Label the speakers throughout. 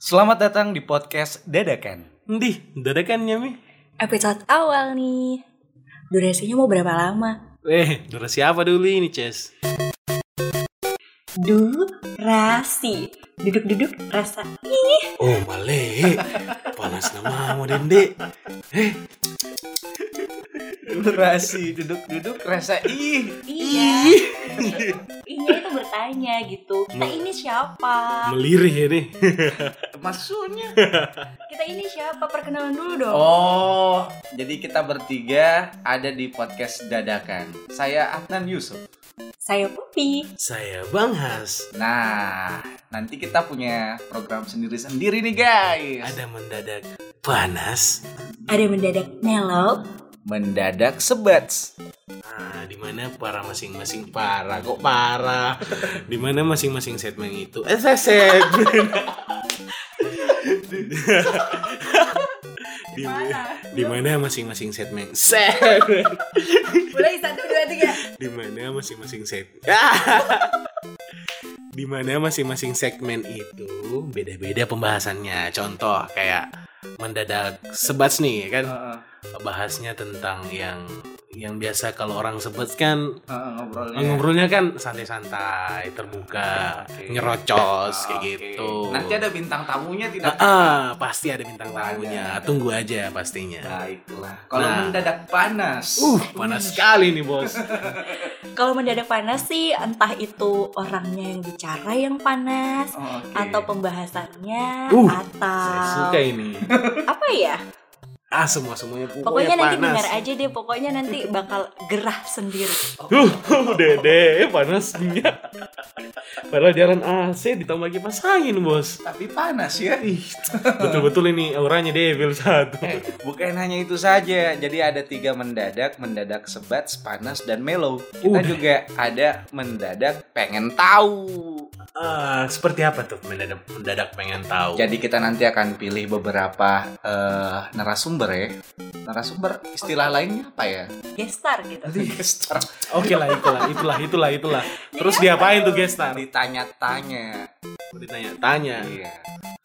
Speaker 1: Selamat datang di podcast Dadakan.
Speaker 2: Ndih, dadakannya mi.
Speaker 3: episode awal nih. Durasinya mau berapa lama?
Speaker 2: Eh, durasi apa dulu ini, Ces?
Speaker 3: Durasi. Duduk-duduk rasa.
Speaker 2: Oh, balik. Panas nama mau dende.
Speaker 1: Durasi duduk-duduk rasa ih.
Speaker 3: Iya. Iya itu bertanya gitu. Kita ini siapa?
Speaker 2: Melirih ya nih.
Speaker 1: Maksudnya?
Speaker 3: Kita ini siapa? Perkenalan dulu dong.
Speaker 1: Oh, jadi kita bertiga ada di podcast Dadakan. Saya Adnan Yusuf.
Speaker 3: Saya Pupi.
Speaker 2: Saya Bang Has.
Speaker 1: Nah, nanti kita punya program sendiri-sendiri nih guys.
Speaker 2: Ada mendadak panas.
Speaker 3: Ada mendadak Nelo.
Speaker 1: Mendadak sebats.
Speaker 2: Nah, di mana para masing-masing para kok para. Di mana masing-masing segmen itu. Eh, saya segmen. di, di mana masing-masing segmen segmen
Speaker 3: Mulai satu dua tiga.
Speaker 2: di mana masing-masing set di mana masing-masing segmen itu beda-beda pembahasannya contoh kayak mendadak sebats nih kan
Speaker 1: Heeh,
Speaker 2: bahasnya tentang yang yang biasa kalau orang sebut kan
Speaker 1: heeh, ya. ngobrolnya.
Speaker 2: ngobrolnya kan santai-santai terbuka
Speaker 1: Oke.
Speaker 2: nyerocos
Speaker 1: Ah,
Speaker 2: kayak
Speaker 1: oke.
Speaker 2: gitu
Speaker 1: Nanti ada bintang tamunya
Speaker 2: Ah,
Speaker 1: tidak?
Speaker 2: ah, pasti ada bintang tamunya
Speaker 1: Ada.
Speaker 2: tunggu aja pastinya
Speaker 1: Baiklah. Kalau
Speaker 2: Nah.
Speaker 1: mendadak panas.
Speaker 2: uh panas sekali nih bos
Speaker 3: Kalau mendadak panas sih entah itu orangnya yang bicara yang panas
Speaker 1: Oh, oke.
Speaker 3: atau pembahasannya
Speaker 2: Uh,
Speaker 1: Ah.
Speaker 3: atau
Speaker 2: saya suka ini
Speaker 3: apa ya?
Speaker 2: ah semua semuanya
Speaker 3: Pokoknya
Speaker 2: pokoknya,
Speaker 3: nanti
Speaker 2: panas
Speaker 3: dengar aja deh. Pokoknya nanti bakal gerah sendiri.
Speaker 2: Duh, dede panasnya. Padahal jalan AC ditambah kipas angin, Bos.
Speaker 1: Tapi panas ya.
Speaker 2: Ih, betul-betul ini auranya devil satu.
Speaker 1: Eh, bukan hanya itu saja, jadi ada tiga mendadak, mendadak sebat, panas, dan mellow. Kita
Speaker 2: Udah.
Speaker 1: juga ada mendadak pengen tahu.
Speaker 2: Ah, seperti apa tuh mendadak mendadak pengen tahu.
Speaker 1: Jadi kita nanti akan pilih beberapa eh, narasumber ya. Narasumber istilah lainnya apa ya?
Speaker 3: Gestar gitu.
Speaker 1: Gestar.
Speaker 2: Oke lah, itulah, itulah, itulah, itulah. Terus diapain tuh guest tadi?
Speaker 1: Ditanya-tanya.
Speaker 2: Ditanya-tanya
Speaker 1: Iya,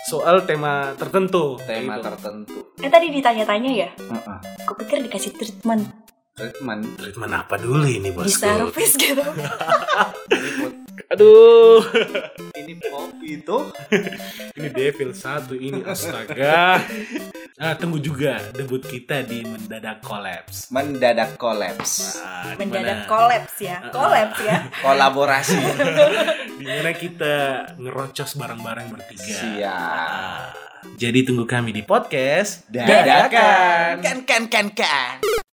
Speaker 2: soal tema tertentu.
Speaker 1: tema
Speaker 2: Gitu.
Speaker 1: tertentu.
Speaker 3: Eh tadi ditanya-tanya ya,
Speaker 1: Heeh.
Speaker 3: aku pikir dikasih treatment
Speaker 1: Treatment
Speaker 2: Treatment apa dulu ini, Bos?
Speaker 3: di servis gitu.
Speaker 1: berikut.
Speaker 2: Aduh,
Speaker 1: Ini kopi itu.
Speaker 2: ini devil satu ini astaga. Ah, tunggu juga debut kita di mendadak collapse.
Speaker 1: mendadak kolaps.
Speaker 2: Ah, di mana-
Speaker 3: Mendadak kolaps ya,
Speaker 2: Uh-uh.
Speaker 3: kolaps ya.
Speaker 1: Kolaborasi.
Speaker 2: di mana kita ngerocos bareng-bareng bertiga.
Speaker 1: Siap.
Speaker 2: Ah, jadi tunggu kami di podcast
Speaker 1: Dadakan.
Speaker 3: kan kan kan kan.